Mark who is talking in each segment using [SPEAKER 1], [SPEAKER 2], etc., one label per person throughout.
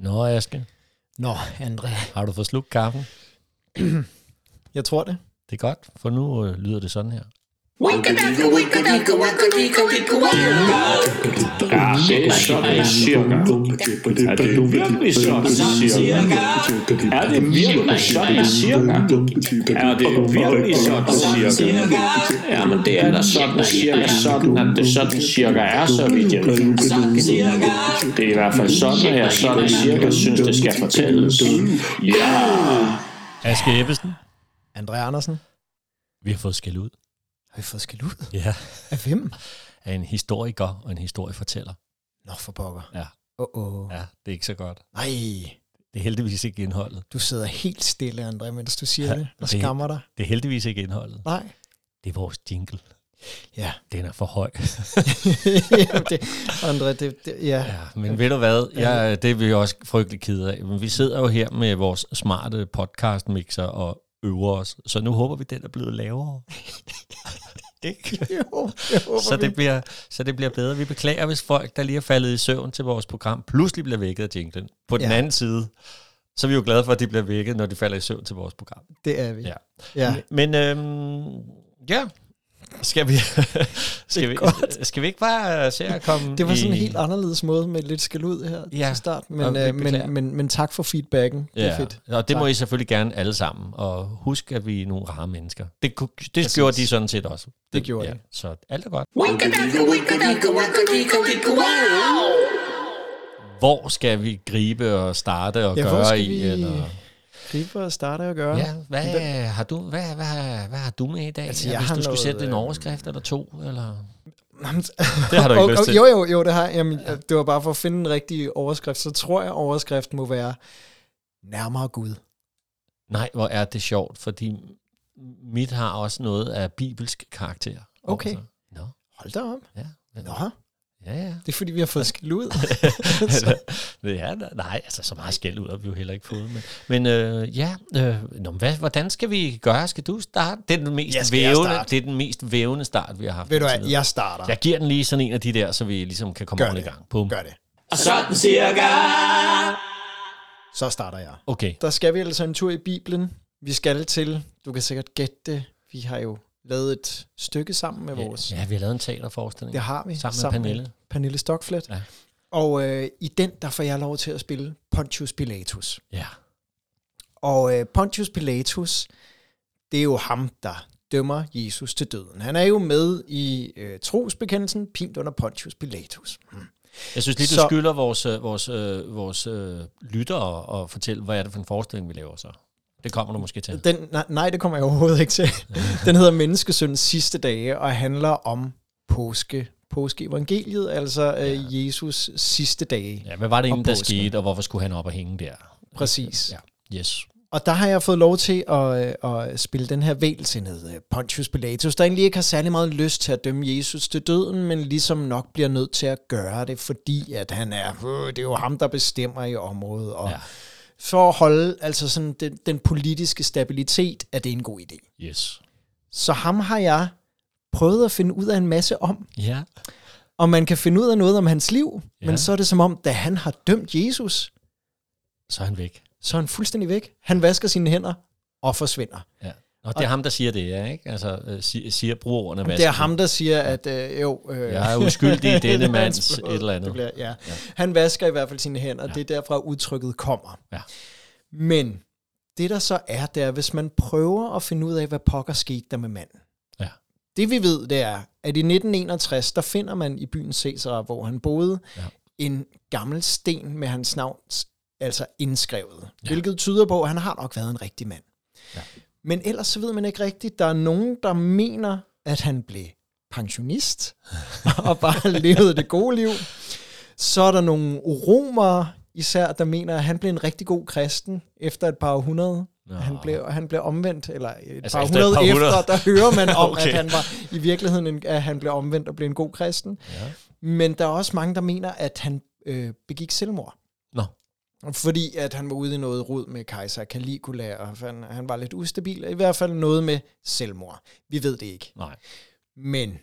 [SPEAKER 1] Nå, Aske,
[SPEAKER 2] Nå, André.
[SPEAKER 1] har du fået slugt kaffen?
[SPEAKER 2] Jeg tror det.
[SPEAKER 1] Det er godt, for nu øh, lyder det sådan her.
[SPEAKER 3] Ja, det er sådan cirka. Er det virkelig sådan cirka? Er det virkelig sådan cirka? Er det virkelig sådan cirka? Ja, men det er da sådan cirka sådan, at det sådan cirka er, så vidt jeg ved. Det er i hvert fald sådan, at jeg sådan cirka synes, det skal fortælles. Ja,
[SPEAKER 1] Aske Ebbesen,
[SPEAKER 2] André Andersen.
[SPEAKER 1] vi har fået skæld ud.
[SPEAKER 2] Har vi fået skæld ud?
[SPEAKER 1] Ja.
[SPEAKER 2] Af hvem?
[SPEAKER 1] Af en historiker og en historiefortæller.
[SPEAKER 2] Nå, for pokker.
[SPEAKER 1] Ja.
[SPEAKER 2] Åh, oh, oh.
[SPEAKER 1] Ja, det er ikke så godt.
[SPEAKER 2] Nej,
[SPEAKER 1] Det er heldigvis ikke indholdet.
[SPEAKER 2] du sidder helt stille, André, mens du siger
[SPEAKER 1] Ja,
[SPEAKER 2] ja, det og
[SPEAKER 1] det-
[SPEAKER 2] skammer dig.
[SPEAKER 1] Det er heldigvis ikke indholdet.
[SPEAKER 2] Nej.
[SPEAKER 1] Det er vores jingle.
[SPEAKER 2] Ja.
[SPEAKER 1] Den er for høj.
[SPEAKER 2] Jamen, det, André, det, det ja. ja.
[SPEAKER 1] Ja, men ved du hvad? Jeg, øh, det er vi også frygtelig kede af. Men vi sidder jo her med vores smarte podcastmixer og øver os. Så nu håber vi, den er blevet lavere. ikke?
[SPEAKER 2] Jo, jeg håber,
[SPEAKER 1] Så det, bliver, så det bliver bedre. Vi beklager, hvis folk, der lige er faldet i søvn til vores program, pludselig bliver vækket af jinglen. På den
[SPEAKER 2] Ja.
[SPEAKER 1] anden side, så er vi jo glade for, at de bliver vækket, når de falder i søvn til vores program.
[SPEAKER 2] det er vi.
[SPEAKER 1] Ja.
[SPEAKER 2] ja.
[SPEAKER 1] Men øhm, ja, skal vi, skal, vi, skal vi ikke bare se at komme
[SPEAKER 2] Det var sådan
[SPEAKER 1] i,
[SPEAKER 2] en helt anderledes måde med lidt skæld ud her
[SPEAKER 1] Ja,
[SPEAKER 2] ja. til start,
[SPEAKER 1] og
[SPEAKER 2] men,
[SPEAKER 1] vi
[SPEAKER 2] øh,
[SPEAKER 1] beklager.
[SPEAKER 2] men, men, men tak for feedbacken. Det er fedt.
[SPEAKER 1] Og det tak. må
[SPEAKER 2] Tak.
[SPEAKER 1] I selvfølgelig gerne alle sammen. Og husk, at vi er nogle rare mennesker. Det, ku- det gjorde de sådan set også. Det,
[SPEAKER 2] gjorde de.
[SPEAKER 1] Så alt er godt. Hvor skal vi gribe og starte og
[SPEAKER 2] Ja, hvor
[SPEAKER 1] gøre
[SPEAKER 2] skal
[SPEAKER 1] i?
[SPEAKER 2] vi-
[SPEAKER 1] Eller?
[SPEAKER 2] Griber og starter og gøre.
[SPEAKER 1] Ja, hvad, har du, hvad, hvad, hvad har du med i dag? Altså,
[SPEAKER 2] jeg
[SPEAKER 1] hvis
[SPEAKER 2] har
[SPEAKER 1] du skulle
[SPEAKER 2] noget,
[SPEAKER 1] sætte en
[SPEAKER 2] øh,
[SPEAKER 1] overskrift eller to? Eller?
[SPEAKER 2] Jamen,
[SPEAKER 1] Det har du ikke
[SPEAKER 2] og,
[SPEAKER 1] lyst
[SPEAKER 2] og,
[SPEAKER 1] til.
[SPEAKER 2] Jo, jo, jo, det har jeg. Jamen, Det var bare for at finde den rigtige overskrift. Så tror jeg, overskriften må være nærmere Gud.
[SPEAKER 1] Nej, hvor er det sjovt, fordi mit har også noget af bibelsk karakter.
[SPEAKER 2] Okay.
[SPEAKER 1] over sig. Nå,
[SPEAKER 2] Hold da op.
[SPEAKER 1] ja.
[SPEAKER 2] Nå,
[SPEAKER 1] Ja, ja.
[SPEAKER 2] det er fordi, vi har fået skæld ud.
[SPEAKER 1] ja, nej, altså så meget skæld ud har vi jo heller ikke fået. Men, men øh, ja, øh, nå, men hvad, hvordan skal vi gøre? Skal du starte? Det er den mest,
[SPEAKER 2] Ja, skal jeg
[SPEAKER 1] vævende,
[SPEAKER 2] starte?
[SPEAKER 1] det er den mest vævende start, vi har haft.
[SPEAKER 2] Ved du
[SPEAKER 1] indtil
[SPEAKER 2] hvad,
[SPEAKER 1] videre.
[SPEAKER 2] jeg starter.
[SPEAKER 1] Jeg giver den lige sådan en af de der, så vi ligesom kan komme
[SPEAKER 2] Gør
[SPEAKER 1] ordentligt i
[SPEAKER 2] det.
[SPEAKER 1] gang. Bum.
[SPEAKER 2] Gør det.
[SPEAKER 3] sådan cirka.
[SPEAKER 2] Så starter jeg.
[SPEAKER 1] Okay.
[SPEAKER 2] Der skal vi altså en tur i Bibelen. Vi skal til, du kan sikkert gætte det, vi har jo lavet et stykke sammen med vores.
[SPEAKER 1] Ja, vi har lavet en teaterforestilling.
[SPEAKER 2] Det har vi.
[SPEAKER 1] Sammen med Pernille.
[SPEAKER 2] Pernille Stockflet.
[SPEAKER 1] Ja.
[SPEAKER 2] Og øh, i den, der får jeg lov til at spille Pontius Pilatus.
[SPEAKER 1] Ja.
[SPEAKER 2] Og øh, Pontius Pilatus, det er jo ham, der dømmer Jesus til døden. Han er jo med i øh, trosbekendelsen, pint under Pontius Pilatus.
[SPEAKER 1] Jeg synes lige, du så...
[SPEAKER 2] Så-
[SPEAKER 1] skylder vores, øh, vores, øh, vores øh, lyttere at fortælle, hvad er det for en forestilling, vi laver så? Det kommer du måske til.
[SPEAKER 2] Den, nej, nej, det kommer jeg overhovedet ikke til. Den hedder Menneskesøndens sidste dage, og handler om påske. Påskeevangeliet, altså øh, Jesus sidste dage.
[SPEAKER 1] Ja, hvad var det
[SPEAKER 2] Og
[SPEAKER 1] egentlig, der
[SPEAKER 2] påsken.
[SPEAKER 1] skete, og hvorfor skulle han op og hænge der?
[SPEAKER 2] Præcis.
[SPEAKER 1] Ja. Yes.
[SPEAKER 2] Og der har jeg fået lov til at, øh, at spille den her vælsenhed, øh, Pontius Pilatus, der egentlig ikke har særlig meget lyst til at dømme Jesus til døden, men ligesom nok bliver nødt til at gøre det, fordi at han er, øh, det er jo ham, der bestemmer i området. Og
[SPEAKER 1] Ja.
[SPEAKER 2] ja. For at holde altså sådan den, den politiske stabilitet, er det en god idé.
[SPEAKER 1] Yes.
[SPEAKER 2] Så ham har jeg prøvet at finde ud af en masse om,
[SPEAKER 1] Ja.
[SPEAKER 2] og man kan finde ud af noget om hans liv, ja.
[SPEAKER 1] Ja.
[SPEAKER 2] men så er det som om, da han har dømt Jesus,
[SPEAKER 1] Så er han væk.
[SPEAKER 2] så er han fuldstændig væk. Han vasker sine hænder og forsvinder.
[SPEAKER 1] Ja. Og det er ham, der siger det, ja, ikke? Altså, øh, si- siger brugordene.
[SPEAKER 2] Det er ham, der siger, at øh, jo... Øh,
[SPEAKER 1] Jeg er uskyldig i denne
[SPEAKER 2] det er
[SPEAKER 1] mands
[SPEAKER 2] hans brød.
[SPEAKER 1] et eller andet.
[SPEAKER 2] Det bliver, ja. ja. Han vasker i hvert fald sine hænder, ja. det er derfra udtrykket kommer.
[SPEAKER 1] Ja.
[SPEAKER 2] Men det der så er, det er, hvis man prøver at finde ud af, hvad pokker skete der med manden.
[SPEAKER 1] Ja.
[SPEAKER 2] Det vi ved, det er, at i 1961, der finder man i byen Caesar, hvor han boede,
[SPEAKER 1] Ja.
[SPEAKER 2] ja. en gammel sten med hans navn altså indskrevet. Ja. Hvilket tyder på, at han har nok været en rigtig mand.
[SPEAKER 1] Ja.
[SPEAKER 2] Men ellers så ved man ikke rigtigt. Der er nogen, der mener, at han blev pensionist og bare levede det gode liv. Så er der nogle romere især, der mener, at han blev en rigtig god kristen efter et par århundrede.
[SPEAKER 1] Nå.
[SPEAKER 2] Han blev, han blev omvendt, eller et
[SPEAKER 1] Altså
[SPEAKER 2] altså par,
[SPEAKER 1] efter et
[SPEAKER 2] hundrede
[SPEAKER 1] par
[SPEAKER 2] efter,
[SPEAKER 1] hundrede.
[SPEAKER 2] der hører man om, okay.
[SPEAKER 1] Okay.
[SPEAKER 2] at han var i virkeligheden, en, at han blev omvendt og blev en god kristen.
[SPEAKER 1] Ja.
[SPEAKER 2] Men der er også mange, der mener, at han øh, begik selvmord.
[SPEAKER 1] Nå.
[SPEAKER 2] Fordi at han var ude i noget rod med kejser Caligula, og han, han var lidt ustabil, og i hvert fald noget med selvmord. Vi ved det ikke.
[SPEAKER 1] Nej.
[SPEAKER 2] Men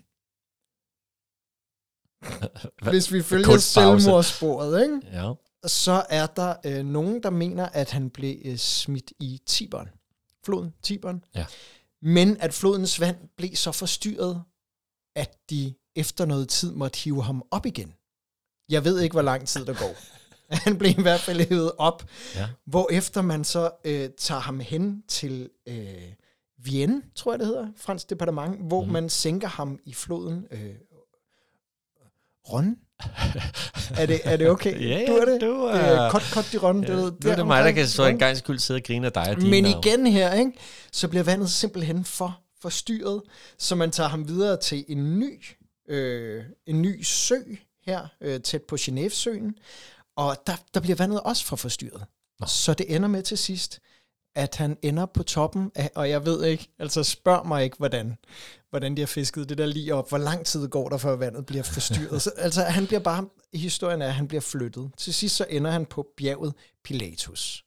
[SPEAKER 1] Hva-
[SPEAKER 2] hvis vi følger
[SPEAKER 1] kunstpause.
[SPEAKER 2] selvmordssporet, ikke?
[SPEAKER 1] Ja.
[SPEAKER 2] så er der øh, nogen, der mener, at han blev øh, smidt i Tiberen. Floden Tiberen.
[SPEAKER 1] Ja.
[SPEAKER 2] Men at flodens vand blev så forstyrret, at de efter noget tid måtte hive ham op igen. Jeg ved ikke, hvor lang tid der går. Han blev i hvert fald hævet op,
[SPEAKER 1] Ja.
[SPEAKER 2] hvorefter man så øh, tager ham hen til øh, Vienne, tror jeg det hedder, fransk departement, hvor mm.
[SPEAKER 1] Mhm.
[SPEAKER 2] man sænker ham i floden øh, Ron. er, det, er det okay?
[SPEAKER 1] Ja, ja,
[SPEAKER 2] du er det.
[SPEAKER 1] du er-
[SPEAKER 2] det er kot, kot de Ron.
[SPEAKER 1] Ja,
[SPEAKER 2] ved,
[SPEAKER 1] Øh, nu er det mig, der
[SPEAKER 2] deromkring.
[SPEAKER 1] kan så en gang skyld sidde og grine af dig. og dine
[SPEAKER 2] Men
[SPEAKER 1] navne.
[SPEAKER 2] igen her, ikke, så bliver vandet simpelthen for forstyrret, så man tager ham videre til en ny, øh, en ny sø her, øh, tæt på Genèvesøen, og der, der bliver vandet også for forstyrret. Nå. Så det ender med til sidst, at han ender på toppen af, og jeg ved ikke, altså spørg mig ikke, hvordan, hvordan de har fisket det der lige op, hvor lang tid går der, før vandet bliver forstyrret. Så, altså han bliver bare, historien er, at han bliver flyttet. Til sidst så ender han på bjerget Pilatus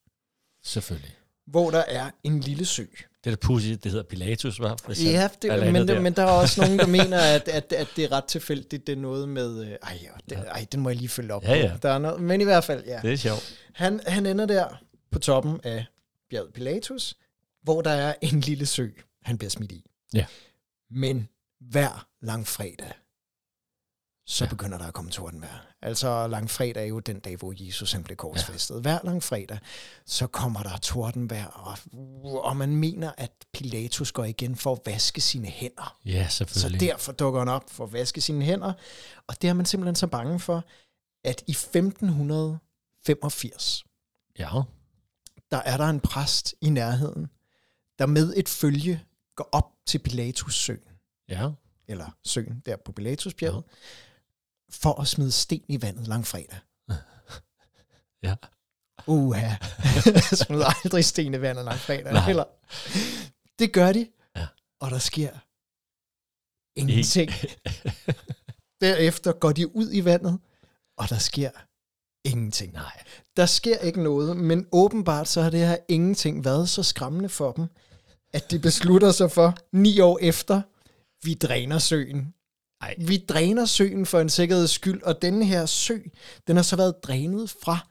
[SPEAKER 1] Selvfølgelig.
[SPEAKER 2] hvor der er en lille sø.
[SPEAKER 1] Det er da pudsigt, det hedder Pilatus, var Hvis han
[SPEAKER 2] Ja,
[SPEAKER 1] er
[SPEAKER 2] det,
[SPEAKER 1] landet
[SPEAKER 2] men, der.
[SPEAKER 1] Altså, der.
[SPEAKER 2] men der er også nogen, der mener, at, at, at det er ret tilfældigt. Det er noget med... Øh, ej, og det, ej, den må jeg lige følge op
[SPEAKER 1] Ja, ja.
[SPEAKER 2] på. Der er noget, men i hvert fald, ja.
[SPEAKER 1] Det er sjovt.
[SPEAKER 2] Han, han ender der på toppen af bjerget Pilatus, hvor der er en lille sø, han bliver smidt i.
[SPEAKER 1] Ja.
[SPEAKER 2] Men hver langfredag, så ja. begynder der at komme tordenvejr. Altså langfredag er jo den dag, hvor Jesus han blev korsfæstet. Ja. Hver langfredag, så kommer der tordenvejr, og, uh, og man mener, at Pilatus går igen for at vaske sine hænder.
[SPEAKER 1] Ja,
[SPEAKER 2] Så
[SPEAKER 1] selvfølgelig.
[SPEAKER 2] derfor dukker han op for at vaske sine hænder. Og det er man simpelthen så bange for, at i 1585,
[SPEAKER 1] Ja.
[SPEAKER 2] der er der en præst i nærheden, der med et følge går op til Pilatus søen,
[SPEAKER 1] Ja.
[SPEAKER 2] eller søen der på Pilatusbjerget, ja. for at smide sten i vandet langfredag.
[SPEAKER 1] Ja.
[SPEAKER 2] Uha, smider aldrig sten i vandet langfredag.
[SPEAKER 1] Nej.
[SPEAKER 2] Eller. Det gør de,
[SPEAKER 1] Ja.
[SPEAKER 2] og der sker ingenting. Derefter går de ud i vandet, og der sker ingenting.
[SPEAKER 1] Nej.
[SPEAKER 2] Der sker ikke noget, men åbenbart så har det her ingenting været så skræmmende for dem, at de beslutter sig for, ni år efter, vi dræner søen.
[SPEAKER 1] Ej.
[SPEAKER 2] Vi dræner søen for en sikkerheds skyld, og denne her sø, den har så været drænet fra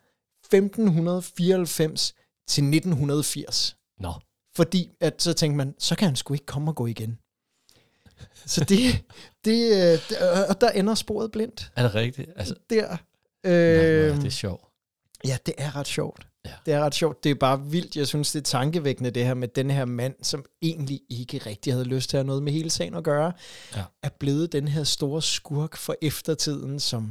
[SPEAKER 2] 1594 til 1980.
[SPEAKER 1] Nå.
[SPEAKER 2] Fordi at så tænkte man, så kan han sgu ikke komme og gå igen. Så det, det, øh, det øh, og der ender sporet blindt
[SPEAKER 1] Er det rigtigt? Altså,
[SPEAKER 2] der.
[SPEAKER 1] øh...
[SPEAKER 2] Øh,
[SPEAKER 1] nej, det er sjovt.
[SPEAKER 2] Ja, det er ret sjovt.
[SPEAKER 1] Ja.
[SPEAKER 2] Det er ret sjovt. Det er bare vildt. Jeg synes, det er tankevækkende, det her med den her mand, som egentlig ikke rigtig havde lyst til at have noget med hele sagen at gøre,
[SPEAKER 1] Ja.
[SPEAKER 2] er blevet den her store skurk for eftertiden, som...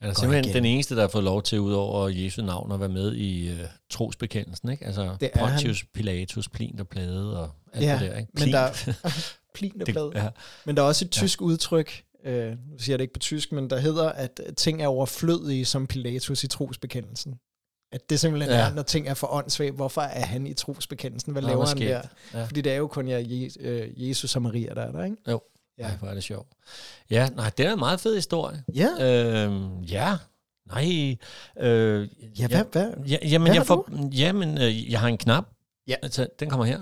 [SPEAKER 1] Han er
[SPEAKER 2] Godt
[SPEAKER 1] simpelthen
[SPEAKER 2] igen.
[SPEAKER 1] den eneste, der har fået lov til, udover Jesu navn, at være med i øh, trosbekendelsen, ikke? Altså
[SPEAKER 2] Det er
[SPEAKER 1] Pontius, Pilatus, Plin og Plade og alt
[SPEAKER 2] Ja,
[SPEAKER 1] det der, ikke?
[SPEAKER 2] Men der, plin og blad.
[SPEAKER 1] det, ja.
[SPEAKER 2] Men der er også et tysk ja. udtryk, øh, nu siger jeg det ikke på tysk, men der hedder, at ting er overflødige som Pilatus i trosbekendelsen. At det simpelthen ja.
[SPEAKER 1] Ja.
[SPEAKER 2] er, når ting er for åndssvagt, hvorfor er han i trosbekendelsen? Hvad
[SPEAKER 1] Nå,
[SPEAKER 2] laver
[SPEAKER 1] hvor
[SPEAKER 2] han
[SPEAKER 1] skægt.
[SPEAKER 2] der?
[SPEAKER 1] Ja.
[SPEAKER 2] Fordi det er jo kun jeg, Je- øh, Jesus og Maria, der er der, ikke?
[SPEAKER 1] Jo.
[SPEAKER 2] Ja.
[SPEAKER 1] Ja. Ej, hvor er det sjovt. Ja, nej, det er en meget fed historie.
[SPEAKER 2] Ja,
[SPEAKER 1] Øhm, ja. Nej. Øh,
[SPEAKER 2] ja hvad, hvad,
[SPEAKER 1] Ja, jamen,
[SPEAKER 2] Hvad
[SPEAKER 1] jeg
[SPEAKER 2] har
[SPEAKER 1] får, jamen, øh, jeg har en knap.
[SPEAKER 2] Ja.
[SPEAKER 1] Altså, den kommer her.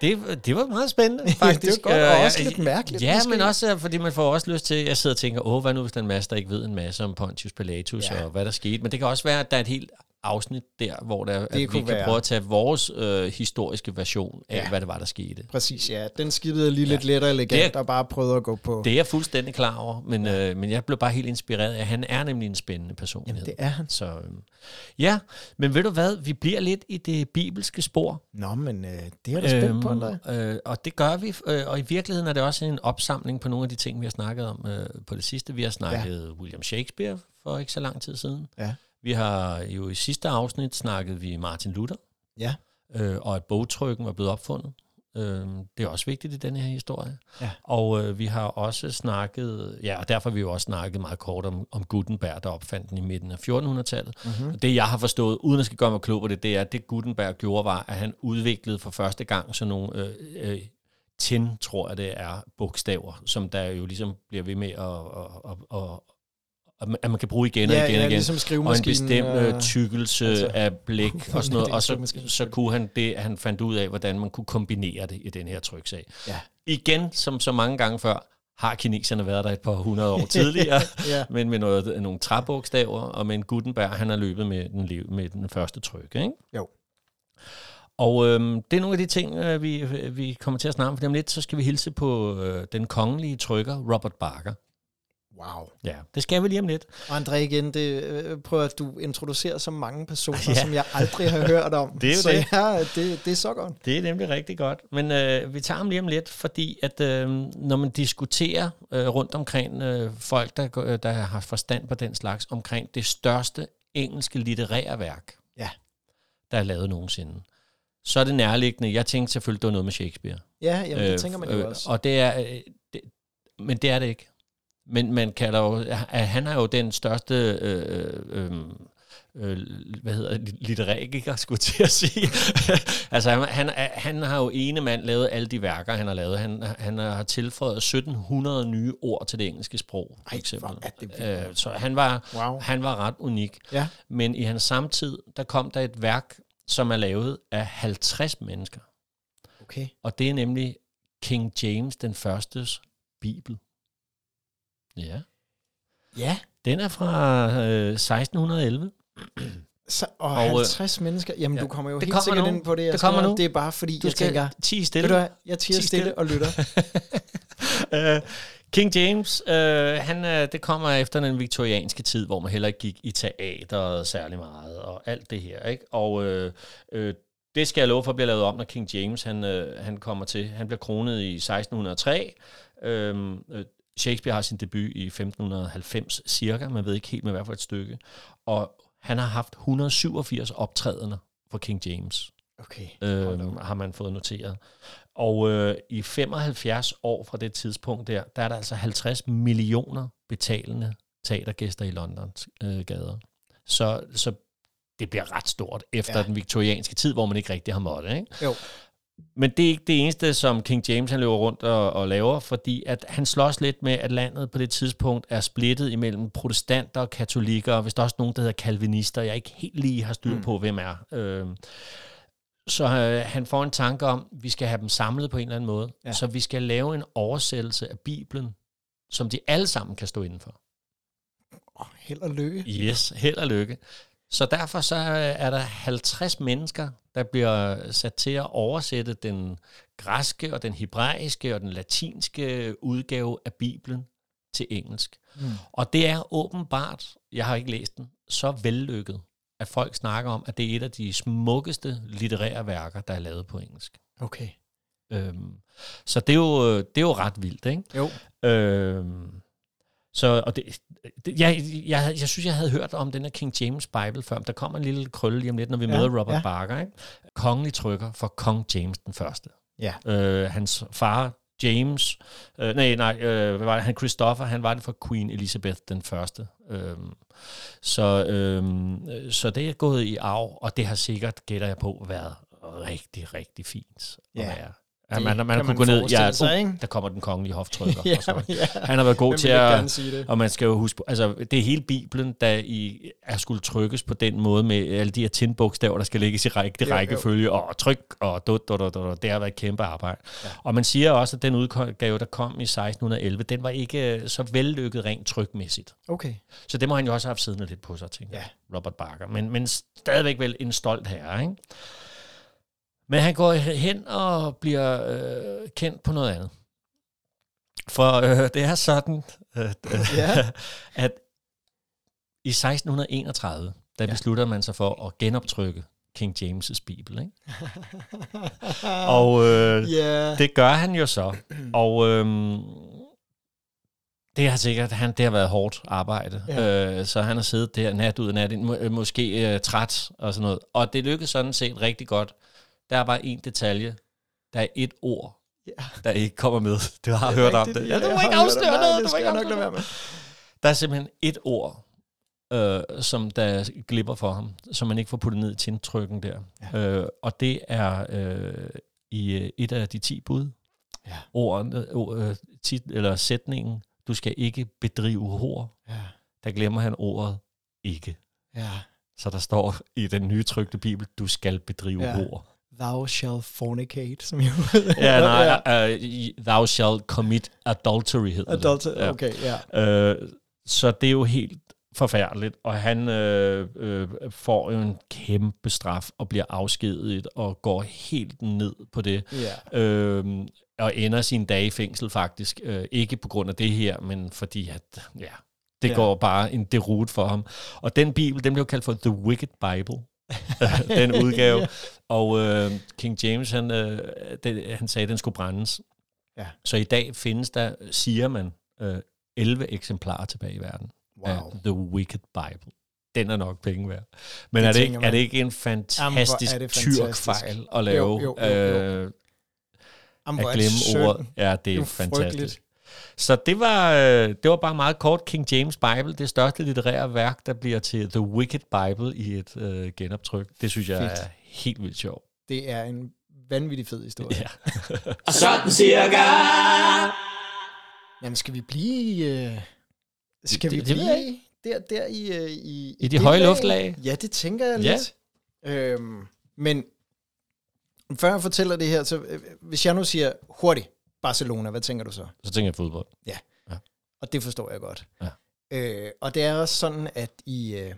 [SPEAKER 1] Det, det var meget spændende, faktisk.
[SPEAKER 2] det var godt,
[SPEAKER 1] Øh,
[SPEAKER 2] og også
[SPEAKER 1] jeg-
[SPEAKER 2] lidt mærkeligt,
[SPEAKER 1] Ja,
[SPEAKER 2] måske.
[SPEAKER 1] men også øh, fordi man får også lyst til, jeg sidder og tænker, åh, hvad nu hvis der er en masse, der ikke ved en masse om Pontius Pilatus
[SPEAKER 2] Ja.
[SPEAKER 1] ja. og hvad der skete. Men det kan også være, at der er et helt afsnit der, hvor der, at vi
[SPEAKER 2] kunne
[SPEAKER 1] kan
[SPEAKER 2] være.
[SPEAKER 1] prøve at tage vores øh, historiske version af,
[SPEAKER 2] Ja.
[SPEAKER 1] ja. hvad det var, der skete.
[SPEAKER 2] Præcis, ja. Den skippede lige ja. lidt lettere elegant,
[SPEAKER 1] Det er-
[SPEAKER 2] og bare prøvede at gå på.
[SPEAKER 1] Det er jeg fuldstændig klar over, men, ja. øh, men jeg blev bare helt inspireret af, at han er nemlig en spændende personlighed.
[SPEAKER 2] det er han.
[SPEAKER 1] Så, øh, ja, men ved du hvad, vi bliver lidt i det bibelske spor.
[SPEAKER 2] Nå, men øh, det er da spændt på, eller?
[SPEAKER 1] øh, og det gør vi, øh, og i virkeligheden er det også en opsamling på nogle af de ting, vi har snakket om øh, på det sidste. Vi har snakket ja. William Shakespeare for ikke så lang tid siden.
[SPEAKER 2] Ja.
[SPEAKER 1] Vi har jo i sidste afsnit snakket vi Martin Luther,
[SPEAKER 2] Ja.
[SPEAKER 1] øh, og at bogtrykken var blevet opfundet. Øh, det er også vigtigt i denne her historie.
[SPEAKER 2] Ja.
[SPEAKER 1] Og øh, vi har også snakket, ja, og derfor har vi jo også snakket meget kort om, om Gutenberg, der opfandt den i midten af 1400-tallet.
[SPEAKER 2] Mhm.
[SPEAKER 1] Mm-hmm. Og det, jeg har forstået, uden at skal gøre mig klog på det, det er, at det Gutenberg gjorde, var, at han udviklede for første gang sådan nogle øh, øh, tin, tror jeg det er, bogstaver, som der jo ligesom bliver ved med at... Og, og, og, at man kan bruge igen og
[SPEAKER 2] Ja,
[SPEAKER 1] igen
[SPEAKER 2] ja,
[SPEAKER 1] og igen.
[SPEAKER 2] ligesom
[SPEAKER 1] og en
[SPEAKER 2] skrivemaskinen
[SPEAKER 1] bestemt
[SPEAKER 2] og-
[SPEAKER 1] øh, tykkelse
[SPEAKER 2] Altså-
[SPEAKER 1] altså, af blæk og sådan
[SPEAKER 2] Det
[SPEAKER 1] noget.
[SPEAKER 2] er
[SPEAKER 1] Og så,
[SPEAKER 2] skrivemaskinen,
[SPEAKER 1] så kunne han det, han fandt ud af, hvordan man kunne kombinere det i den her tryksag.
[SPEAKER 2] Ja.
[SPEAKER 1] Igen, som så mange gange før, har kineserne været der et par hundrede år tidligere,
[SPEAKER 2] Ja.
[SPEAKER 1] ja. men med noget, nogle træbogstaver, og med en Gutenberg, han har løbet med den, le- med den første tryk. Ikke?
[SPEAKER 2] Jo.
[SPEAKER 1] Og øhm, det er nogle af de ting, øh, vi, vi kommer til at snakke om, for om lidt, så skal vi hilse på øh, den kongelige trykker, Robert Barker.
[SPEAKER 2] Wow.
[SPEAKER 1] Ja, det skal vi lige om lidt.
[SPEAKER 2] Og André, igen, det, øh, prøv at du introducerer så mange personer, ja.
[SPEAKER 1] Ja.
[SPEAKER 2] som jeg aldrig har hørt om.
[SPEAKER 1] Det er jo
[SPEAKER 2] så
[SPEAKER 1] det.
[SPEAKER 2] Ja, det, det er så godt.
[SPEAKER 1] Det er nemlig rigtig godt. Men øh, vi tager ham lige om lidt, fordi at øh, når man diskuterer øh, rundt omkring øh, folk, der, går- øh, der har forstand på den slags, omkring det største engelske litterære værk,
[SPEAKER 2] Ja.
[SPEAKER 1] der er lavet nogensinde, så er det nærliggende. Jeg tænkte selvfølgelig, det var noget med Shakespeare.
[SPEAKER 2] Ja, jamen, det tænker man jo
[SPEAKER 1] øh,
[SPEAKER 2] også.
[SPEAKER 1] Og det er, øh, det, men det er det ikke. Men man kalder jo, at han er jo den største, øh, øh, øh, hvad hedder det, litteræriker, skulle jeg til at sige. altså, han, han, er- han har jo ene mand lavet alle de værker, han har lavet. Han, han har tilføjet 1700 nye ord til det engelske sprog, for
[SPEAKER 2] Ej,
[SPEAKER 1] eksempel.
[SPEAKER 2] hvor er det vildt.
[SPEAKER 1] øh, så han var,
[SPEAKER 2] Wow.
[SPEAKER 1] han var ret unik.
[SPEAKER 2] Ja.
[SPEAKER 1] Men i hans samtid, der kom der et værk, som er lavet af 50 mennesker.
[SPEAKER 2] Okay.
[SPEAKER 1] Og det er nemlig King James den Førstes Bibel. Ja.
[SPEAKER 2] Ja.
[SPEAKER 1] Den er fra øh, 1611.
[SPEAKER 2] Så, og, og
[SPEAKER 1] øh,
[SPEAKER 2] 50 mennesker. Jamen, ja.
[SPEAKER 1] ja.
[SPEAKER 2] du kommer jo
[SPEAKER 1] Det
[SPEAKER 2] helt
[SPEAKER 1] kommer
[SPEAKER 2] sikkert
[SPEAKER 1] nu.
[SPEAKER 2] ind på det. jeg
[SPEAKER 1] Det kommer
[SPEAKER 2] skal.
[SPEAKER 1] nu.
[SPEAKER 2] Det er bare fordi,
[SPEAKER 1] Du
[SPEAKER 2] jeg
[SPEAKER 1] skal
[SPEAKER 2] tænker,
[SPEAKER 1] tige
[SPEAKER 2] ved
[SPEAKER 1] stille.
[SPEAKER 2] du hvad, jeg tiger
[SPEAKER 1] Tig
[SPEAKER 2] stille
[SPEAKER 1] stille.
[SPEAKER 2] og lytter.
[SPEAKER 1] Øh, King James, øh, han, øh, det kommer efter den viktorianske tid, hvor man heller ikke gik i teateret særlig meget, og alt det her. Ikke? Og øh, øh, det skal jeg love for, bliver lavet om, når King James han, øh, han kommer til. Han bliver kronet i 1603. Øhm, øh, Shakespeare har sin debut i 1590 cirka, man ved ikke helt med hvad for et stykke. Og han har haft 187 optrædener for King James
[SPEAKER 2] Okay.
[SPEAKER 1] øh, har man fået noteret. Og øh, i 75 år fra det tidspunkt der, der er der altså 50 millioner betalende teatergæster i Londons øh, gader. Så, så det bliver ret stort efter
[SPEAKER 2] Ja.
[SPEAKER 1] ja. den viktorianske tid, hvor man ikke rigtig har måttet. Ikke?
[SPEAKER 2] Jo.
[SPEAKER 1] Men det er ikke det eneste, som King James han løber rundt og, og laver, fordi at han slås lidt med, at landet på det tidspunkt er splittet imellem protestanter og katolikker, og hvis der er også nogen, der hedder kalvinister, jeg ikke helt lige har styr på, mm. hvem er. Øh, så øh, han får en tanke om, at vi skal have dem samlet på en eller anden måde,
[SPEAKER 2] Ja.
[SPEAKER 1] ja. så vi skal lave en oversættelse af Bibelen, som de alle sammen kan stå indenfor.
[SPEAKER 2] Åh, held og lykke.
[SPEAKER 1] Yes, held og lykke. Så derfor så øh, er der 50 mennesker, der bliver øh, sat til at oversætte den græske og den hebraiske og den latinske øh, udgave af Bibelen til engelsk. Mm. Og det er åbenbart, jeg har ikke læst den, så vellykket, at folk snakker om, at det er et af de smukkeste litterære værker, der er lavet på engelsk.
[SPEAKER 2] Okay.
[SPEAKER 1] Øhm, så det er, jo, øh, det er jo ret vildt, ikke?
[SPEAKER 2] Jo.
[SPEAKER 1] Øhm, så, og det, det, jeg, jeg, havde- jeg synes, jeg havde hørt om den her King James Bible før, men der kommer en lille krølle lige om lidt, når vi
[SPEAKER 2] Ja,
[SPEAKER 1] ja, møder Robert
[SPEAKER 2] ja.
[SPEAKER 1] ja. Barker. Ikke? Kongelig trykker for Kong James den Første.
[SPEAKER 2] Ja.
[SPEAKER 1] Øh, hans far, James, øh, nej, nej, øh, hvad var det, han Christopher, han var det for Queen Elizabeth den Første. Øhm, så, øhm, øh, så det er gået i arv, og det har sikkert, gætter jeg på, været rigtig, rigtig fint at
[SPEAKER 2] Ja,
[SPEAKER 1] være. At
[SPEAKER 2] det
[SPEAKER 1] man, man,
[SPEAKER 2] kan
[SPEAKER 1] man
[SPEAKER 2] man
[SPEAKER 1] kunne gå ned,
[SPEAKER 2] forestille
[SPEAKER 1] ja,
[SPEAKER 2] sig,
[SPEAKER 1] uh,
[SPEAKER 2] ikke?
[SPEAKER 1] der kommer den kongelige hoftrykker.
[SPEAKER 2] Ja,
[SPEAKER 1] og sådan noget.
[SPEAKER 2] ja.
[SPEAKER 1] Han har været god
[SPEAKER 2] Hvem
[SPEAKER 1] til
[SPEAKER 2] vil ikke
[SPEAKER 1] at...
[SPEAKER 2] gerne sige det?
[SPEAKER 1] Og man skal jo huske på, altså det er hele Bibelen, der i, er skulle trykkes på den måde med alle de her tinbogstaver, der skal lægges i rigtig
[SPEAKER 2] jo.
[SPEAKER 1] rækkefølge, og tryk, og dut, dut, dut, dut, dut. det har været et kæmpe arbejde. Ja. Og man siger også, at den udgave, der kom i 1611, den var ikke øh, så vellykket rent trykmæssigt.
[SPEAKER 2] Okay.
[SPEAKER 1] Så det må han jo også have haft siddende lidt på sig, tænker
[SPEAKER 2] Ja.
[SPEAKER 1] ja. Robert Barker. Men, men stadigvæk vel en stolt herre, ikke? Men han går hen og bliver øh, kendt på noget andet. For øh, det er sådan, øh,
[SPEAKER 2] Ja.
[SPEAKER 1] at i 1631, der ja. beslutter man sig for at genoptrykke King James' Bibel. Ikke? Og øh,
[SPEAKER 2] Ja.
[SPEAKER 1] det gør han jo så. Og øhm, det har sikkert, han, det har været hårdt arbejde. Ja. Øh, så han har siddet der nat ud og nat ind, må, øh, måske øh, træt og sådan noget. Og det lykkedes sådan set rigtig godt. Der er bare en detalje. Der er et ord,
[SPEAKER 2] Ja.
[SPEAKER 1] der ikke kommer med. Du har hørt om det. Ja, du må ikke afsløre noget. Du
[SPEAKER 2] Det
[SPEAKER 1] må
[SPEAKER 2] skal
[SPEAKER 1] ikke
[SPEAKER 2] jeg nok
[SPEAKER 1] afsløre
[SPEAKER 2] lade være
[SPEAKER 1] noget.
[SPEAKER 2] med.
[SPEAKER 1] Der er simpelthen et ord, øh, som der glipper for ham, som man ikke får puttet ned til trykken der. Ja. Øh, og det er øh, i øh, et af de ti bud.
[SPEAKER 2] Ja.
[SPEAKER 1] Ordene, ord, øh, tit, eller sætningen, du skal ikke bedrive hår.
[SPEAKER 2] Ja.
[SPEAKER 1] Der glemmer han ordet ikke.
[SPEAKER 2] Ja.
[SPEAKER 1] Så der står i den nye trykte bibel, du skal bedrive
[SPEAKER 2] Ja.
[SPEAKER 1] ja. hår.
[SPEAKER 2] Thou shall fornicate, som jo
[SPEAKER 1] Ja, nej, øh, thou shall commit adultery hedder
[SPEAKER 2] Adult,
[SPEAKER 1] det. Ja.
[SPEAKER 2] okay, ja.
[SPEAKER 1] Øh, så det er jo helt forfærdeligt, og han øh, øh, får jo en kæmpe straf og bliver afskediget og går helt ned på det.
[SPEAKER 2] Ja.
[SPEAKER 1] Øh, og ender sine dage i fængsel faktisk. Øh, ikke på grund af det her, men fordi at, ja, det
[SPEAKER 2] Ja.
[SPEAKER 1] ja. går bare en derut for ham. Og den bibel, den blev kaldt for The Wicked Bible. den udgave.
[SPEAKER 2] Ja.
[SPEAKER 1] Og øh, King James, han, øh, den, han sagde, at den skulle brændes.
[SPEAKER 2] Ja.
[SPEAKER 1] Så i dag findes der, siger man, øh, 11 eksemplarer tilbage i verden af
[SPEAKER 2] Wow.
[SPEAKER 1] The Wicked Bible. Den er nok penge værd. Men
[SPEAKER 2] Det
[SPEAKER 1] er det, ikke,
[SPEAKER 2] tænker man.
[SPEAKER 1] er det ikke en
[SPEAKER 2] Jamen, hvor
[SPEAKER 1] fantastisk
[SPEAKER 2] er det fantastisk.
[SPEAKER 1] tyrkfejl at lave?
[SPEAKER 2] Jo, jo, jo, jo.
[SPEAKER 1] Øh,
[SPEAKER 2] Jamen,
[SPEAKER 1] at
[SPEAKER 2] hvor er det
[SPEAKER 1] glemme
[SPEAKER 2] synd.
[SPEAKER 1] ordet. Ja, det
[SPEAKER 2] er
[SPEAKER 1] er
[SPEAKER 2] jo
[SPEAKER 1] fantastisk.
[SPEAKER 2] frygteligt.
[SPEAKER 1] Så det var, øh, det var bare meget kort King James Bible, det største litterære værk, der bliver til The Wicked Bible i et øh, genoptryk. Det synes jeg
[SPEAKER 2] Fedt.
[SPEAKER 1] er helt vildt sjovt.
[SPEAKER 2] Det er en vanvittig fed historie.
[SPEAKER 1] Ja.
[SPEAKER 3] Og sådan cirka.
[SPEAKER 2] Jamen, skal vi blive... Øh, skal
[SPEAKER 1] Det-
[SPEAKER 2] vi
[SPEAKER 1] det ved jeg
[SPEAKER 2] blive der, der i, øh, i,
[SPEAKER 1] I de
[SPEAKER 2] det
[SPEAKER 1] høje
[SPEAKER 2] lag?
[SPEAKER 1] luftlag?
[SPEAKER 2] Ja, det tænker jeg
[SPEAKER 1] Ja.
[SPEAKER 2] lidt. Øhm, men før jeg fortæller det her, så øh, hvis jeg nu siger hurtigt Barcelona, hvad tænker du så?
[SPEAKER 1] Så tænker jeg fodbold.
[SPEAKER 2] Og det forstår jeg godt.
[SPEAKER 1] Ja.
[SPEAKER 2] Øh, og det er også sådan, at i, øh,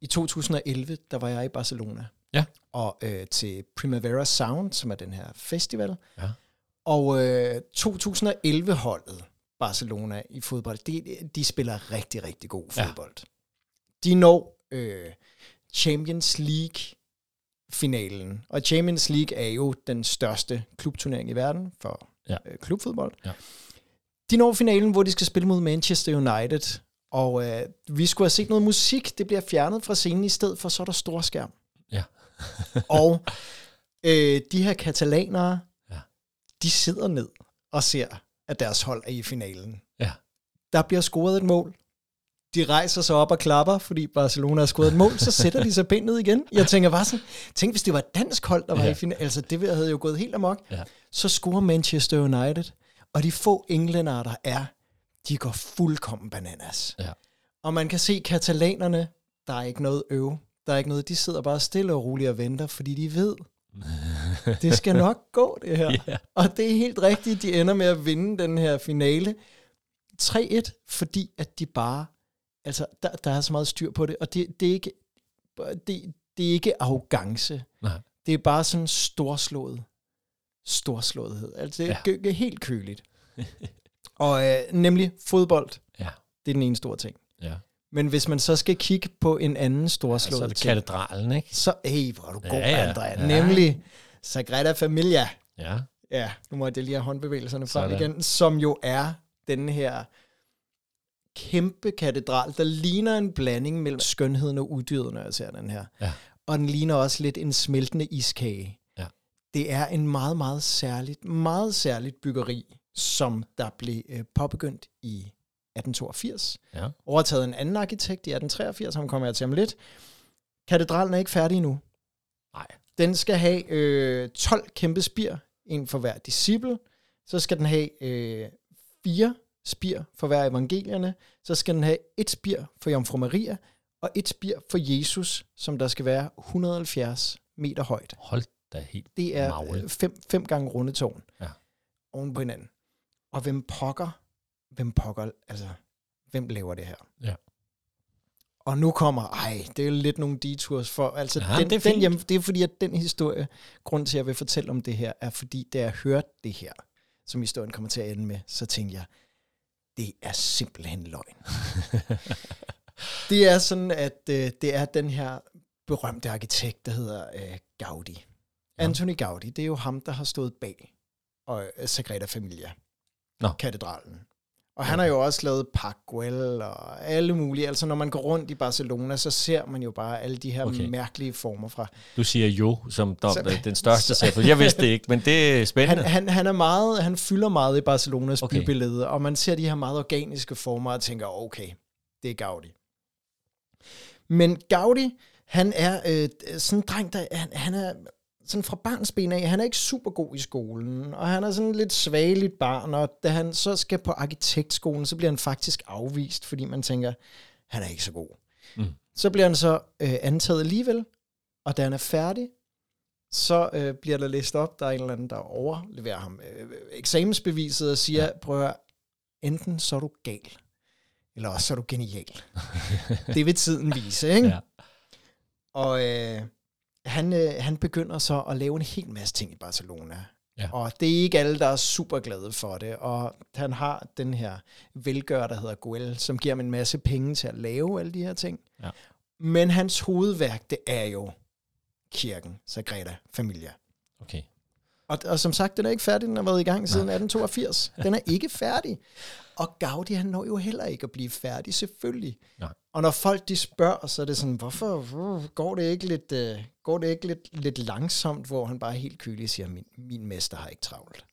[SPEAKER 2] i 2011, der var jeg i Barcelona.
[SPEAKER 1] Ja.
[SPEAKER 2] Og øh, til Primavera Sound, som er den her festival.
[SPEAKER 1] Ja.
[SPEAKER 2] Og øh, 2011-holdet Barcelona i fodbold, de, de spiller rigtig, rigtig god
[SPEAKER 1] Ja.
[SPEAKER 2] fodbold. Ja. De når øh, Champions League finalen. Og Champions League er jo den største klubturnering i verden for ja.
[SPEAKER 1] Ja.
[SPEAKER 2] øh, klubfodbold.
[SPEAKER 1] Ja.
[SPEAKER 2] De når finalen, hvor de skal spille mod Manchester United. Og øh, vi skulle have set noget musik. Det bliver fjernet fra scenen i stedet for, så er der stor skærm.
[SPEAKER 1] Ja.
[SPEAKER 2] og øh, de her katalanere, ja.
[SPEAKER 1] Ja.
[SPEAKER 2] de sidder ned og ser, at deres hold er i finalen.
[SPEAKER 1] Ja.
[SPEAKER 2] Der bliver scoret et mål. De rejser sig op og klapper, fordi Barcelona har scoret et mål, så sætter de sig pænt ned igen. Jeg tænker bare sådan, tænk hvis det var et dansk hold, der var ja.
[SPEAKER 1] Ja.
[SPEAKER 2] i finalen. Altså det havde jo gået helt amok.
[SPEAKER 1] Ja.
[SPEAKER 2] Så scorer Manchester United, og de få englænder, der er, de går fuldkommen bananas.
[SPEAKER 1] Ja.
[SPEAKER 2] Og man kan se katalanerne, der er ikke noget øve. Der er ikke noget, de sidder bare stille og roligt og venter, fordi de ved, det skal nok gå det her.
[SPEAKER 1] Ja.
[SPEAKER 2] Og det er helt rigtigt, de ender med at vinde den her finale 3-1, fordi at de bare, altså der, der er så meget styr på det, og det, det, er, ikke, det, det er ikke arrogance.
[SPEAKER 1] Nej.
[SPEAKER 2] Det er bare sådan storslået, storslåethed. Altså det er ja. helt køligt. og øh, nemlig fodbold,
[SPEAKER 1] Ja.
[SPEAKER 2] det er den ene store ting.
[SPEAKER 1] ja.
[SPEAKER 2] Men hvis man så skal kigge på en anden storslået
[SPEAKER 1] Så er det
[SPEAKER 2] ting,
[SPEAKER 1] katedralen, ikke?
[SPEAKER 2] så, hey, hvor er du god,
[SPEAKER 1] Ja, ja.
[SPEAKER 2] Andrea.
[SPEAKER 1] Ja.
[SPEAKER 2] Nemlig Sagrada Familia.
[SPEAKER 1] Ja.
[SPEAKER 2] Ja, nu må jeg lige have håndbevægelserne frem
[SPEAKER 1] Sådan.
[SPEAKER 2] igen, som jo er den her kæmpe katedral, der ligner en blanding mellem skønheden og uddyret, når jeg ser den her.
[SPEAKER 1] Ja.
[SPEAKER 2] Og den ligner også lidt en smeltende iskage.
[SPEAKER 1] Ja.
[SPEAKER 2] Det er en meget, meget særligt, meget særligt byggeri, som der blev øh, påbegyndt i 1882.
[SPEAKER 1] Ja.
[SPEAKER 2] Overtaget af en anden arkitekt i 1883, ham kommer jeg til om lidt. Katedralen er ikke færdig endnu.
[SPEAKER 1] Nej.
[SPEAKER 2] Den skal have øh, 12 kæmpe spir, en for hver disciple. Så skal den have øh, fire spir for hver af evangelierne. Så skal den have et spir for Jomfru Maria, og et spir for Jesus, som der skal være 170 meter højt.
[SPEAKER 1] Hold da helt.
[SPEAKER 2] Det er
[SPEAKER 1] Magle.
[SPEAKER 2] øh, fem, fem gange rundetårn
[SPEAKER 1] Ja.
[SPEAKER 2] oven på hinanden. Og hvem pokker, hvem pokker, altså, hvem laver det her?
[SPEAKER 1] Ja.
[SPEAKER 2] Og nu kommer, ej, det er lidt nogle detours for, altså,
[SPEAKER 1] Ja,
[SPEAKER 2] ja, den,
[SPEAKER 1] det
[SPEAKER 2] det,
[SPEAKER 1] er
[SPEAKER 2] er
[SPEAKER 1] fint.
[SPEAKER 2] den hjem, det er fordi, at den historie, grund til, at jeg vil fortælle om det her, er fordi, da jeg hørte det her, som historien kommer til at ende med, så tænkte jeg, det er simpelthen løgn. det er sådan, at øh, det er den her berømte arkitekt, der hedder øh, Gaudi.
[SPEAKER 1] Ja.
[SPEAKER 2] Anthony Gaudi, det er jo ham, der har stået bag og øh, Sagrada Familia,
[SPEAKER 1] Nå.
[SPEAKER 2] katedralen. Og han har jo også lavet Parkwell og alle mulige. Altså når man går rundt i Barcelona, så ser man jo bare alle de her okay.
[SPEAKER 1] Okay.
[SPEAKER 2] mærkelige former fra.
[SPEAKER 1] Du siger jo, som dom,
[SPEAKER 2] Så-
[SPEAKER 1] den største selvfølgelig. Jeg vidste det ikke, men det er
[SPEAKER 2] Han,
[SPEAKER 1] spændende.
[SPEAKER 2] han, han, er meget, han fylder meget i Barcelonas okay.
[SPEAKER 1] Okay.
[SPEAKER 2] bybillede, og man ser de her meget organiske former og tænker, okay, det er Gaudi. Men Gaudi, han er øh, sådan en dreng, der han, han er sådan fra barnsben af, han er ikke super god i skolen, og han er sådan lidt svageligt barn, og da han så skal på arkitektskolen, så bliver han faktisk afvist, fordi man tænker, han er ikke så god.
[SPEAKER 1] Mm.
[SPEAKER 2] Så bliver han så øh, antaget alligevel, og da han er færdig, så øh, bliver der læst op, der er en eller anden, der overleverer ham øh, eksamensbeviset og siger, ja. prøv at høre, enten så er du gal, eller også så er du genial. det vil tiden vise, ikke?
[SPEAKER 1] Ja.
[SPEAKER 2] Og øh, han, øh, han begynder så at lave en hel masse ting i Barcelona.
[SPEAKER 1] Ja.
[SPEAKER 2] Og det er ikke alle, der er super glade for det. Og han har den her velgører, der hedder Guel, som giver ham en masse penge til at lave alle de her ting.
[SPEAKER 1] Ja.
[SPEAKER 2] Men hans hovedværk, det er jo kirken, Sagrada Familia.
[SPEAKER 1] Okay.
[SPEAKER 2] Og, og som sagt, den er ikke færdig. Den har været i gang siden 1882. Den er ikke færdig. Og Gaudi, han når jo heller ikke at blive færdig, selvfølgelig.
[SPEAKER 1] Nej.
[SPEAKER 2] Og når folk de spørger, så er det sådan, hvorfor uh, går det ikke lidt, uh, går det ikke lidt, lidt langsomt, hvor han bare helt kylig siger, min, min mester har ikke travlt.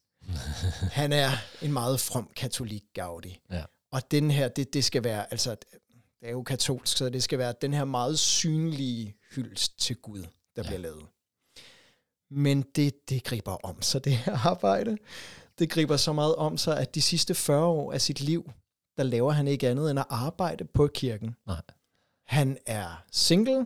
[SPEAKER 2] han er en meget from katolik, Gaudi.
[SPEAKER 1] Ja.
[SPEAKER 2] Og den her, det, det skal være, altså, det er jo katolsk, så det skal være den her meget synlige hyldest til Gud, der ja. bliver lavet. Men det, det griber om sig, det her arbejde. Det griber så meget om sig, at de sidste 40 år af sit liv, der laver han ikke andet end at arbejde på kirken.
[SPEAKER 1] Nej.
[SPEAKER 2] Han er single,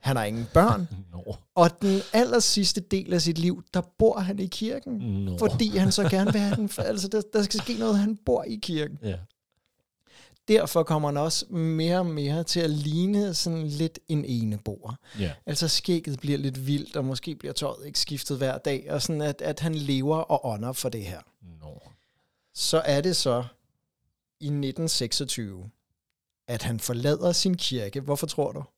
[SPEAKER 2] han har ingen børn,
[SPEAKER 1] Nå.
[SPEAKER 2] og den aller sidste del af sit liv, der bor han i kirken.
[SPEAKER 1] Nå.
[SPEAKER 2] Fordi han så gerne vil have den. Altså, der, der skal ske noget, han bor i kirken.
[SPEAKER 1] Ja.
[SPEAKER 2] Derfor kommer han også mere og mere til at ligne sådan lidt en eneboer.
[SPEAKER 1] Ja.
[SPEAKER 2] Altså skægget bliver lidt vildt, og måske bliver tøjet ikke skiftet hver dag, og sådan at, at han lever og ånder for det her.
[SPEAKER 1] Nå.
[SPEAKER 2] Så er det så i 1926, at han forlader sin kirke. Hvorfor tror du?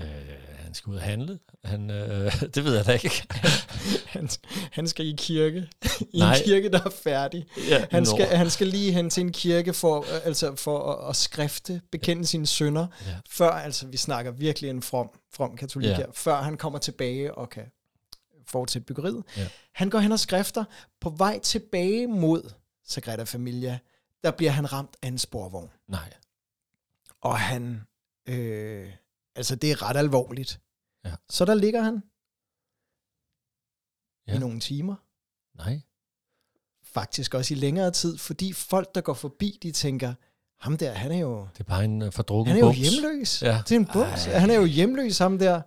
[SPEAKER 1] Øh, han skal ud og handle. Han, øh, det ved jeg da ikke.
[SPEAKER 2] Han, han skal i kirke. I
[SPEAKER 1] Nej.
[SPEAKER 2] en kirke, der er færdig.
[SPEAKER 1] Ja,
[SPEAKER 2] Han
[SPEAKER 1] nå.
[SPEAKER 2] skal, han skal lige hen til en kirke for, øh, altså for at, at skrifte, bekende sine sønder,
[SPEAKER 1] Ja.
[SPEAKER 2] før, altså vi snakker virkelig en from, from katolik
[SPEAKER 1] Ja.
[SPEAKER 2] ja. her, før han kommer tilbage og kan fortsætte byggeriet.
[SPEAKER 1] Ja.
[SPEAKER 2] Han går hen og skrifter på vej tilbage mod Sagrada Familia, der bliver han ramt af en sporvogn.
[SPEAKER 1] Nej.
[SPEAKER 2] Og han, øh, altså det er ret alvorligt.
[SPEAKER 1] Ja.
[SPEAKER 2] Så der ligger han ja.
[SPEAKER 1] Ja.
[SPEAKER 2] i nogle timer.
[SPEAKER 1] Nej.
[SPEAKER 2] faktisk også i længere tid, fordi folk, der går forbi, de tænker, ham der, han er jo,
[SPEAKER 1] Det er bare en uh, fordrukken
[SPEAKER 2] han er jo
[SPEAKER 1] bums.
[SPEAKER 2] hjemløs.
[SPEAKER 1] Ja.
[SPEAKER 2] Det er en bums.
[SPEAKER 1] Ej.
[SPEAKER 2] Han er jo hjemløs, ham der.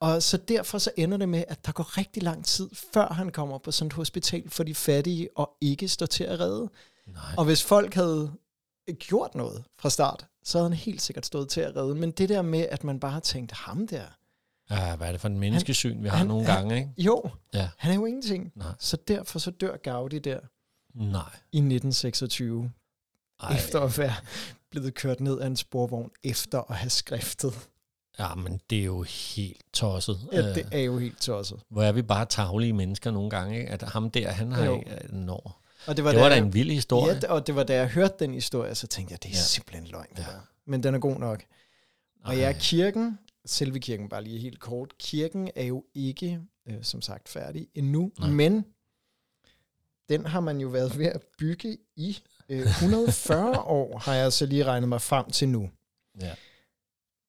[SPEAKER 2] Og så derfor så ender det med, at der går rigtig lang tid, før han kommer på sådan et hospital for de fattige og ikke står til at redde.
[SPEAKER 1] Nej.
[SPEAKER 2] Og hvis folk havde gjort noget fra start, så havde han helt sikkert stået til at redde. Men det der med, at man bare har tænkt, ham der,
[SPEAKER 1] Ah, hvad er det for en menneskesyn, vi har
[SPEAKER 2] han-
[SPEAKER 1] nogle
[SPEAKER 2] han-
[SPEAKER 1] gange, ikke?
[SPEAKER 2] jo,
[SPEAKER 1] Ja.
[SPEAKER 2] han er jo ingenting.
[SPEAKER 1] Nej.
[SPEAKER 2] Så derfor så dør Gaudi der
[SPEAKER 1] Nej.
[SPEAKER 2] i 1926.
[SPEAKER 1] Ej.
[SPEAKER 2] Ej. efter at være blevet kørt ned af en sporvogn, efter at have skriftet.
[SPEAKER 1] Ja, men det er jo helt tosset.
[SPEAKER 2] Ja,
[SPEAKER 1] Øh,
[SPEAKER 2] det er jo helt tosset.
[SPEAKER 1] Hvor er vi bare tavlige mennesker nogle gange, ikke? At ham der, han har
[SPEAKER 2] Jo.
[SPEAKER 1] ikke... øh, Nå.
[SPEAKER 2] Og det var,
[SPEAKER 1] Det var da
[SPEAKER 2] jeg,
[SPEAKER 1] en vild historie.
[SPEAKER 2] Ja, og det var da jeg hørte den historie, så tænkte jeg, det er
[SPEAKER 1] Ja.
[SPEAKER 2] ja. simpelthen løgn.
[SPEAKER 1] Ja.
[SPEAKER 2] Ja. Men den er god nok. Og
[SPEAKER 1] Ej.
[SPEAKER 2] ja, kirken, selve kirken bare lige helt kort, kirken er jo ikke, øh, som sagt, færdig endnu,
[SPEAKER 1] Nej.
[SPEAKER 2] Nej. men den har man jo været ved at bygge i øh, 140 år, har jeg så lige regnet mig frem til nu.
[SPEAKER 1] Ja.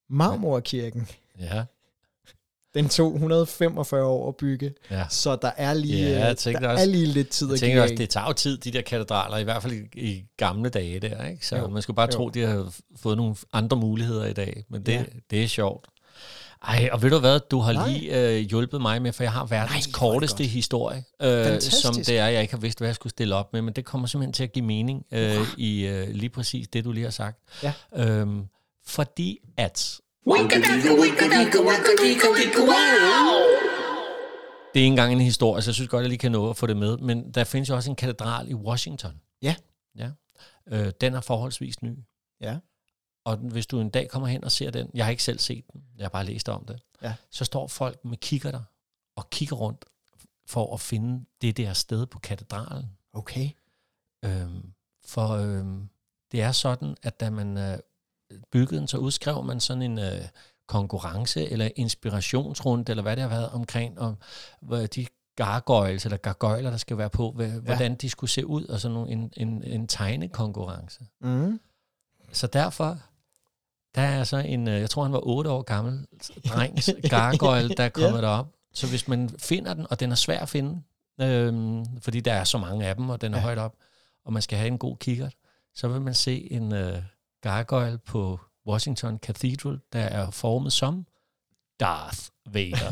[SPEAKER 2] Marmorkirken,
[SPEAKER 1] Ja.
[SPEAKER 2] den tog 145 år at bygge.
[SPEAKER 1] ja.
[SPEAKER 2] Så der er lige,
[SPEAKER 1] Ja, jeg
[SPEAKER 2] øh,
[SPEAKER 1] tænkte
[SPEAKER 2] der
[SPEAKER 1] også-
[SPEAKER 2] er lige lidt tid
[SPEAKER 1] Jeg
[SPEAKER 2] at
[SPEAKER 1] tænker
[SPEAKER 2] give
[SPEAKER 1] også,
[SPEAKER 2] af.
[SPEAKER 1] det tager jo tid, de der katedraler, i hvert fald i, i gamle dage der, ikke? Så jo.
[SPEAKER 2] Jo,
[SPEAKER 1] man skulle bare jo.
[SPEAKER 2] jo.
[SPEAKER 1] tro, de havde f- fået nogle andre muligheder i dag, men det, ja.
[SPEAKER 2] Ja.
[SPEAKER 1] det er sjovt. Ej, og ved du hvad, du har Nej.
[SPEAKER 2] Nej.
[SPEAKER 1] lige øh, hjulpet mig med, for jeg har verdens
[SPEAKER 2] Nej,
[SPEAKER 1] Nej,
[SPEAKER 2] hvor er det
[SPEAKER 1] korteste
[SPEAKER 2] godt.
[SPEAKER 1] historie, øh,
[SPEAKER 2] Fantastisk.
[SPEAKER 1] som det er, jeg ikke har vidst, hvad jeg skulle stille op med, men det kommer simpelthen til at give mening øh, i øh, lige præcis det, du lige har sagt.
[SPEAKER 2] Ja.
[SPEAKER 1] Øhm, fordi at,
[SPEAKER 3] Winkadaka, winkadaka, winkadika, dika, wow!
[SPEAKER 1] det er ikke engang en historie, så jeg synes godt, jeg lige kan nå at få det med, men der findes jo også en katedral i Washington.
[SPEAKER 2] Ja.
[SPEAKER 1] ja. Øh, den er forholdsvis ny.
[SPEAKER 2] Ja.
[SPEAKER 1] Og den- hvis du en dag kommer hen og ser den, jeg har ikke selv set den, jeg har bare læst om det,
[SPEAKER 2] Ja.
[SPEAKER 1] så står folk med kikkerter og kigger rundt for at finde det der sted på katedralen.
[SPEAKER 2] Okay.
[SPEAKER 1] Øhm, for øhm, det er sådan, at da man øh, byggede den, så udskrev man sådan en øh, konkurrence eller inspirationsrunde, eller hvad det har været omkring, om hvor de gargoyles eller gargoyler, der skal være på, hvad, ja. hvordan de skulle se ud, og sådan nogle- en, en, en tegnekonkurrence.
[SPEAKER 2] Mm.
[SPEAKER 1] Så derfor, der er så en, øh, jeg tror han var 8 år gammel, drengs gargoyle, der er kommet ja. derop. Så hvis man finder den, og den er svær at finde, øhm, fordi der er så mange af dem, og den er ja.
[SPEAKER 2] Ja.
[SPEAKER 1] højt op, og man skal have en god kikkert, så vil man se en øh, gargoyle på Washington Cathedral, der er formet som Darth Vader.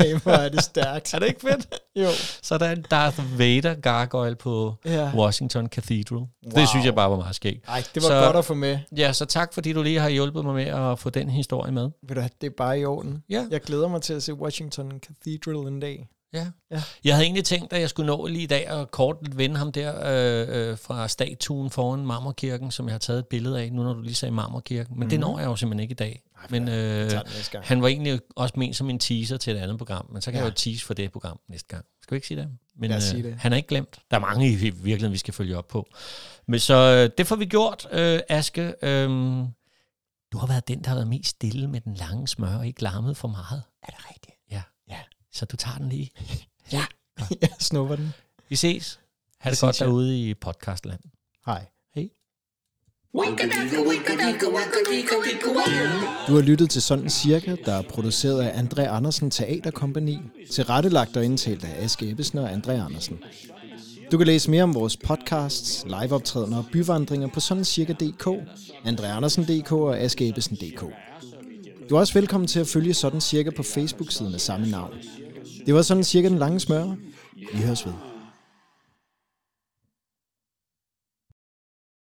[SPEAKER 2] Ej, hvor er det stærkt.
[SPEAKER 1] er det ikke fedt?
[SPEAKER 2] Jo.
[SPEAKER 1] Så der er en Darth Vader gargoyle på
[SPEAKER 2] Ja.
[SPEAKER 1] Washington Cathedral. Wow.
[SPEAKER 2] Wow.
[SPEAKER 1] Det synes jeg bare var meget skægt.
[SPEAKER 2] Ej, det var
[SPEAKER 1] Så-
[SPEAKER 2] så... godt at få med.
[SPEAKER 1] Ja, så tak fordi du lige har hjulpet mig med at få den historie med.
[SPEAKER 2] Ved du hvad, det er bare i orden.
[SPEAKER 1] Ja.
[SPEAKER 2] Jeg glæder mig til at se Washington Cathedral en dag.
[SPEAKER 1] Ja.
[SPEAKER 2] Ja.
[SPEAKER 1] Jeg havde egentlig tænkt, at jeg skulle nå lige i dag og kort vende ham der øh, øh, fra statuen foran Marmorkirken, som jeg har taget et billede af, nu når du lige sagde Marmorkirken. Men mm-hmm. det når jeg jo simpelthen ikke i dag. Men øh,
[SPEAKER 2] Mhm. tager den næste gang.
[SPEAKER 1] han var egentlig også ment som en teaser til et andet program, men så kan ja.
[SPEAKER 2] Ja.
[SPEAKER 1] jeg jo tease for det program næste gang. Skal vi ikke sige det? Men øh,
[SPEAKER 2] Lad os sige det.
[SPEAKER 1] han er ikke glemt. Der er mange i virkeligheden, vi skal følge op på. Men så øh, det får vi gjort, øh, Aske. Øh, du har været den, der har været mest stille med den lange smør og ikke larmet for meget.
[SPEAKER 2] Er det rigtigt?
[SPEAKER 1] Ja.
[SPEAKER 2] Ja.
[SPEAKER 1] Så du tager den lige.
[SPEAKER 2] Jeg snupper den.
[SPEAKER 1] Vi ses. Ha'
[SPEAKER 2] Det
[SPEAKER 1] det godt
[SPEAKER 2] synes jeg.
[SPEAKER 1] derude i podcastland.
[SPEAKER 2] Hej.
[SPEAKER 4] Winkadaka, winkadaka, winkadika, winkawaka.
[SPEAKER 2] Du har lyttet til Sådan Cirka, der er produceret af André Andersen Teaterkompagni, tilrettelagt og indtalt af Aske Ebbesen og André Andersen. Du kan læse mere om vores podcasts, liveoptrædener og byvandringer på sådancirka.dk, andreandersen.dk og askeebbesen.dk. Du er også velkommen til at følge Sådan Cirka på Facebook-siden af samme navn. Det var Sådan Cirka den lange smør. Vi høres ved.